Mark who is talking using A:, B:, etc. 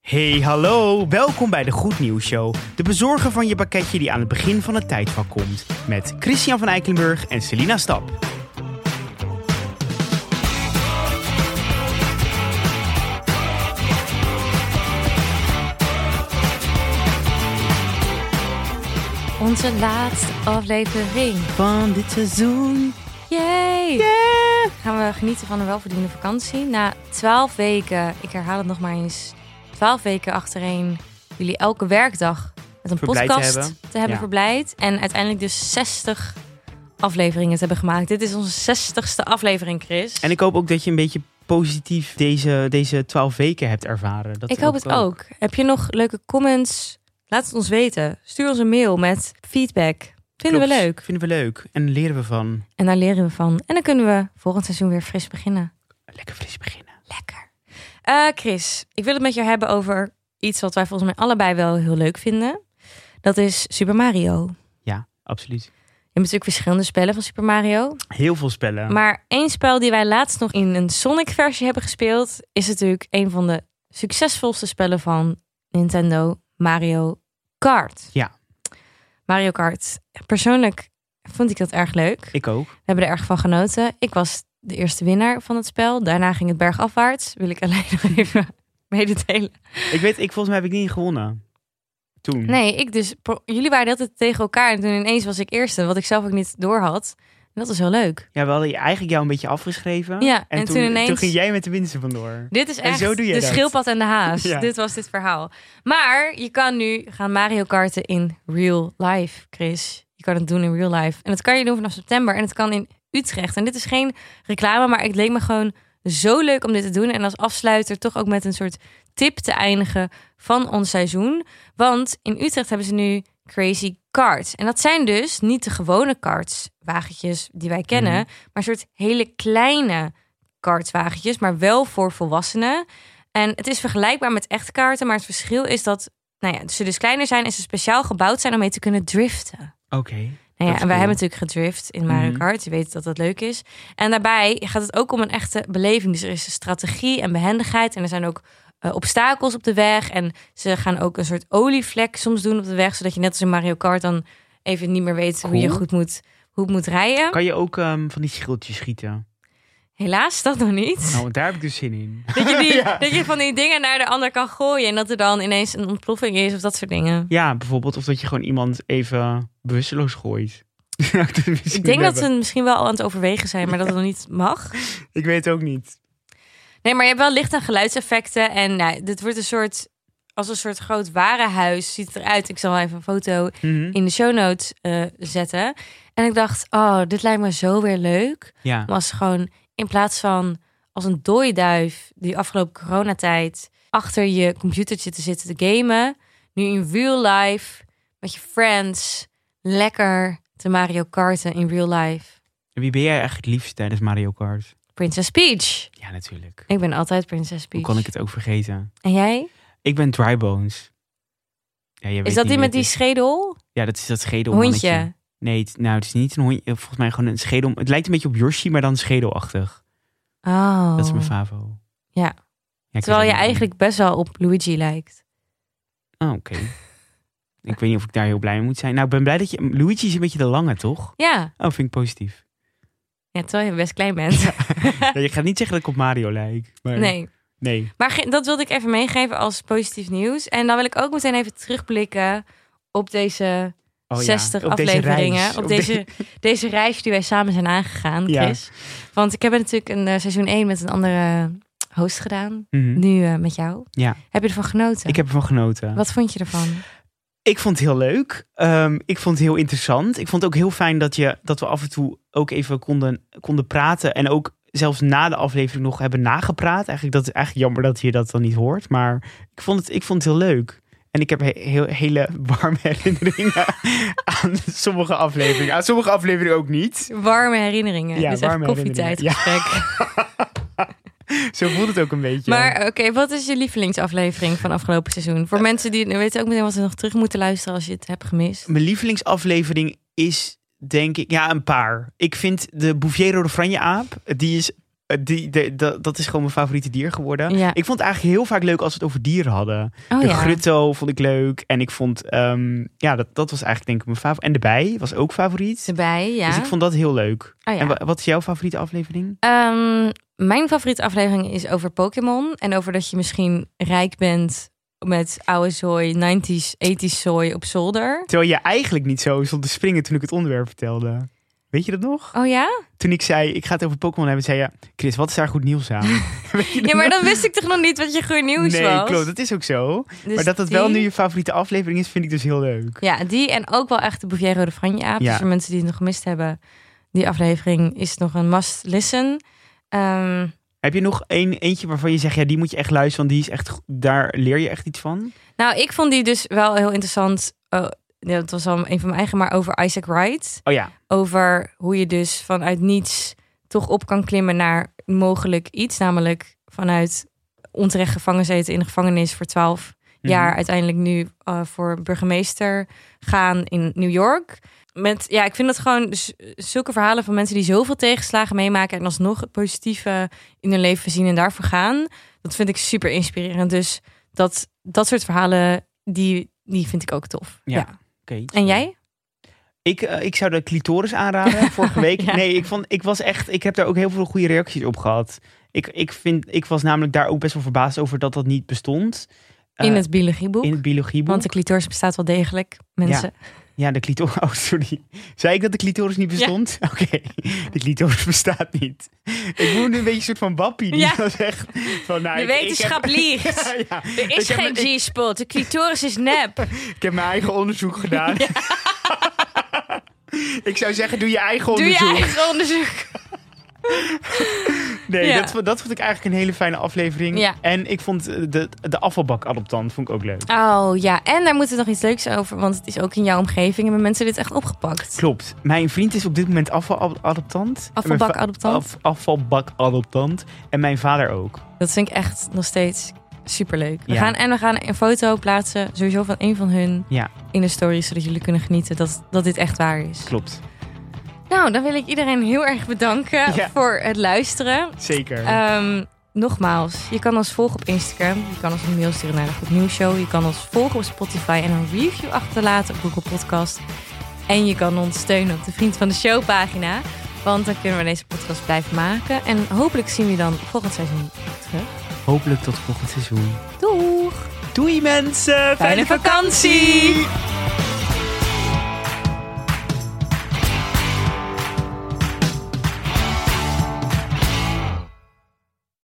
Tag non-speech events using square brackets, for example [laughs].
A: Hey, hallo. Welkom bij de Goed Nieuws Show. De bezorger van je pakketje die aan het begin van het tijdvak komt. Met Christian van Eikelenburg en Selina Stap.
B: Onze laatste aflevering.
A: Van dit seizoen.
B: Yay! Gaan we genieten van een welverdiende vakantie. Na twaalf weken, ik herhaal het nog maar eens. Twaalf weken achtereen jullie elke werkdag met een
A: Verblijd te
B: podcast te
A: hebben.
B: hebben,
A: Ja.
B: verblijd. En uiteindelijk dus 60 afleveringen te hebben gemaakt. Dit is onze 60ste aflevering, Chris.
A: En ik hoop ook dat je een beetje positief deze, deze 12 weken hebt ervaren. Dat
B: Ik hoop het ook. Heb je nog leuke comments? Laat het ons weten. Stuur ons een mail met feedback. Vinden we
A: Klopt.
B: leuk.
A: Vinden we leuk. En leren we van.
B: En daar leren we van. En dan kunnen we volgend seizoen weer fris beginnen.
A: Lekker fris beginnen.
B: Lekker. Eh, Chris, ik wil het met jou hebben over iets wat wij volgens mij allebei wel heel leuk vinden. Dat is Super Mario.
A: Ja, absoluut.
B: Je hebt natuurlijk verschillende spellen van Super Mario.
A: Heel veel spellen.
B: Maar één spel die wij laatst nog in een Sonic-versie hebben gespeeld, is natuurlijk een van de succesvolste spellen van Nintendo, Mario Kart.
A: Ja.
B: Mario Kart. Persoonlijk vond ik dat erg leuk.
A: Ik ook.
B: We hebben er erg van genoten. Ik was de eerste winnaar van het spel. Daarna ging het bergafwaarts. Wil ik alleen [laughs] nog even mededelen.
A: Ik weet, ik, volgens mij heb ik niet gewonnen. Toen.
B: Nee, ik dus. pro- Jullie waren dat het tegen elkaar. En toen ineens was ik eerste. Wat ik zelf ook niet door had. En dat was heel leuk.
A: Ja, we hadden je- eigenlijk jou een beetje afgeschreven.
B: Ja,
A: en, toen, ineens... toen ging jij met de winsten vandoor.
B: Dit is
A: En
B: echt
A: zo doe je
B: de
A: dat.
B: schildpad en de
A: [laughs]
B: haas.
A: Ja.
B: Dit was dit verhaal. Maar je kan nu gaan Mario karten in real life, Chris. Je kan het doen in real life. En dat kan je doen vanaf september. En het kan in Utrecht. En dit is geen reclame, maar het leek me gewoon zo leuk om dit te doen. En als afsluiter toch ook met een soort tip te eindigen van ons seizoen. Want in Utrecht hebben ze nu Crazy Karts. En dat zijn dus niet de gewone karts, wagentjes die wij kennen.
A: Mhm.
B: Maar een soort hele kleine kartswagentjes, maar wel voor volwassenen. En het is vergelijkbaar met echte kaarten, maar het verschil is dat nou ja, ze dus kleiner zijn en ze speciaal gebouwd zijn om mee te kunnen driften.
A: Oké.
B: Nou
A: is
B: ja, en wij
A: cool.
B: hebben natuurlijk gedrift in Mario
A: Mhm.
B: Kart. Je weet dat dat leuk is. En daarbij gaat het ook om een echte beleving. Dus er is strategie en behendigheid. En er zijn ook eh, obstakels op de weg. En ze gaan ook een soort olievlek soms doen op de weg. Zodat je net als in Mario Kart dan even niet meer weet hoe je
A: Cool.
B: goed moet, hoe het moet rijden.
A: Kan je ook ehm, van die schildjes schieten?
B: Helaas dat nog niet.
A: Nou, want daar heb ik dus zin
B: [laughs]
A: in.
B: Dat
A: [laughs]
B: je, die, dat je van die dingen naar de ander kan gooien. En dat er dan ineens een ontploffing is of dat soort dingen.
A: Ja, bijvoorbeeld. Of dat je gewoon iemand even bewusteloos gooit. [laughs]
B: Ik denk dat ze het misschien wel al aan het overwegen zijn, maar dat het nog niet mag.
A: Ik weet het ook niet.
B: Nee, maar je hebt wel licht- en geluidseffecten. En nou, dit wordt een soort, als een soort groot warenhuis ziet het eruit. Ik zal wel even een foto
A: Mhm.
B: in de show notes eh, zetten. En ik dacht, oh, dit lijkt me zo weer leuk.
A: Ja.
B: was gewoon in plaats van als een dooiduif die afgelopen coronatijd achter je computertje te zitten te gamen, nu in real life met je friends lekker te Mario Karten in real life.
A: En Wie ben jij eigenlijk het liefst tijdens Mario Kart?
B: Princess Peach.
A: Ja, natuurlijk.
B: Ik ben altijd Princess
A: Hoe
B: Peach.
A: kon ik het ook vergeten?
B: En jij?
A: Ik ben Drybones. Ja, jij
B: Is
A: weet
B: dat die
A: niet wie
B: met
A: het
B: die
A: is.
B: schedel?
A: Ja, dat is dat schedelmannetje.
B: Hondje.
A: Nee, het, nou, het is niet een hondje. Volgens mij gewoon een schedel. Het lijkt een beetje op Yoshi, maar dan schedelachtig.
B: Oh.
A: Dat is mijn favo.
B: Ja.
A: ik weet
B: Terwijl
A: het
B: je
A: niet.
B: eigenlijk best wel op Luigi lijkt.
A: Oh, oké. ik weet niet of ik daar heel blij mee moet zijn. Nou, ik ben blij dat je... Luigi is een beetje de lange, toch?
B: Ja.
A: Oh, vind ik positief.
B: ja, terwijl je best klein bent. [laughs]
A: Ja, je gaat niet zeggen dat ik op Mario lijk. Maar...
B: nee.
A: Nee.
B: Maar ge- dat wilde ik even meegeven als positief nieuws. En dan wil ik ook meteen even terugblikken op deze
A: Oh, ja.
B: 60
A: Op deze
B: afleveringen.
A: reis.
B: Op
A: de- [laughs]
B: deze, deze reis die wij samen zijn aangegaan,
A: Ja.
B: Chris. Want ik heb natuurlijk een eh, seizoen 1 met een andere host gedaan.
A: Mhm.
B: Nu eh, met jou.
A: Ja.
B: Heb je ervan genoten?
A: Ik heb ervan genoten.
B: Wat vond je ervan?
A: Ik vond het heel leuk. Ehm, ik vond het heel interessant. Ik vond het ook heel fijn dat, je, dat we af en toe ook even konden, konden praten. En ook zelfs na de aflevering nog hebben nagepraat. Eigenlijk, dat is eigenlijk jammer dat je dat dan niet hoort. Maar ik vond het, ik vond het heel leuk. En ik heb he- heel, hele [laughs] warme herinneringen aan sommige afleveringen. Aan sommige afleveringen ook niet.
B: Warme herinneringen.
A: Ja,
B: dus echt
A: warme herinneringen.
B: koffietijdgesprek.
A: Zo voelt het ook een beetje.
B: Maar oké, wat is je lievelingsaflevering van afgelopen seizoen?
A: Eh,
B: Voor mensen die weten ook meteen wat ze nog terug moeten luisteren als je het hebt gemist.
A: Mijn lievelingsaflevering is denk ik, ja, een paar. Ik vind de Bouviero de Franje aap, die is eh, die, de- de- dat is gewoon mijn favoriete dier geworden.
B: Ja.
A: Ik vond het eigenlijk heel vaak leuk als we het over dieren hadden.
B: Oh
A: de
B: ja.
A: grutto vond ik leuk. En ik vond, ehm, ja, dat, dat was eigenlijk denk ik mijn favoriet. En de bij was ook favoriet.
B: Ze bij, ja.
A: Dus ik vond dat heel leuk.
B: Oh ja.
A: En wa- wat is jouw favoriete aflevering?
B: Ehm, mijn favoriete aflevering is over Pokémon. En over dat je misschien rijk bent met oude zooi, 90s, 80s zooi op zolder.
A: Terwijl je eigenlijk niet zo stond te springen toen ik het onderwerp vertelde. Weet je dat nog?
B: Oh ja?
A: Toen ik zei, ik ga het over Pokémon hebben, zei je... Chris, wat is daar goed nieuws aan? [laughs] Weet je dat
B: Ja, maar
A: nog?
B: dan wist ik toch nog niet wat je goede nieuws
A: Nee,
B: was?
A: klopt. Dat is ook zo.
B: Dus
A: maar dat dat wel
B: die-
A: nu je favoriete aflevering is, vind ik dus heel leuk.
B: Ja, die en ook wel echt de Bouvier de Franje aap.
A: Ja.
B: Dus voor mensen die het nog gemist hebben, die aflevering is nog een must listen. Ehm,
A: Heb je nog één eentje waarvan je zegt, ja, die moet je echt luisteren, want die is echt, go- daar leer je echt iets van?
B: nou, ik vond die dus wel heel interessant. Oh, ja, dat was al een van mijn eigen, maar over Isaac Wright.
A: Oh ja,
B: over hoe je dus vanuit niets toch op kan klimmen naar mogelijk iets. Namelijk vanuit onterecht gevangen zitten in de gevangenis voor 12
A: Mhm.
B: jaar. Uiteindelijk nu eh, voor burgemeester gaan in New York. Met, ja, ik vind dat gewoon z- zulke verhalen van mensen die zoveel tegenslagen meemaken. en alsnog het positieve in hun leven zien en daarvoor gaan. Dat vind ik super inspirerend. Dus dat, dat soort verhalen, die, die vind ik ook tof.
A: Ja. oké.
B: En jij?
A: Ik, eh, ik zou de clitoris
B: [laughs]
A: aanraden. Vorige week.
B: Ja.
A: Nee, ik, vond, ik was echt. Ik heb daar ook heel veel goede reacties op gehad. Ik, ik, vind, ik was namelijk daar ook best wel verbaasd over dat dat niet bestond. Eh,
B: In het biologieboek?
A: in het biologieboek.
B: Want de clitoris bestaat wel degelijk, mensen.
A: Ja, de clitoris. [laughs] Oh, sorry. Zei ik dat de clitoris niet bestond? [laughs] Oké. De clitoris bestaat niet. Ik voel nu een beetje een soort van wappie. Die
B: Ja.
A: was echt. Van, nou,
B: De
A: ik- ik heb-
B: wetenschap liegt.
A: [laughs] Ja, ja.
B: Er is
A: Ik heb
B: geen
A: me-
B: G-spot. De clitoris is nep.
A: Ik heb mijn eigen onderzoek gedaan. [laughs] ik zou zeggen, doe je eigen
B: Doe je
A: onderzoek.
B: eigen onderzoek.
A: Nee,
B: Ja.
A: dat, vo- dat vond ik eigenlijk een hele fijne aflevering.
B: Ja.
A: En ik vond eh, de, de afvalbakadoptant vond ik ook leuk.
B: Oh ja, en daar moeten we nog iets leuks over. Want het is ook in jouw omgeving. En hebben mensen dit echt opgepakt.
A: Klopt. Mijn vriend is op dit moment afvaladoptant. En mijn va-
B: Afvalbakadoptant?
A: Af, afvalbakadoptant. En mijn vader ook.
B: Dat vind ik echt nog steeds superleuk. We
A: Ja.
B: gaan, en we gaan een foto plaatsen. Sowieso van een van hun.
A: Ja.
B: In de story. Zodat jullie kunnen genieten dat, dat dit echt waar is.
A: Klopt.
B: Nou, dan wil ik iedereen heel erg bedanken
A: Ja.
B: voor het luisteren.
A: Zeker.
B: Ehm, nogmaals, je kan ons volgen op Instagram. Je kan ons een mail sturen naar de Goed Nieuws Show. Je kan ons volgen op Spotify en een review achterlaten op Google Podcast. En je kan ons steunen op de Vriend van de Show pagina. Want dan kunnen we deze podcast blijven maken. En hopelijk zien we je dan volgend seizoen terug.
A: Hopelijk tot volgend seizoen.
B: Doeg!
A: Doei mensen.
B: Fijne vakantie!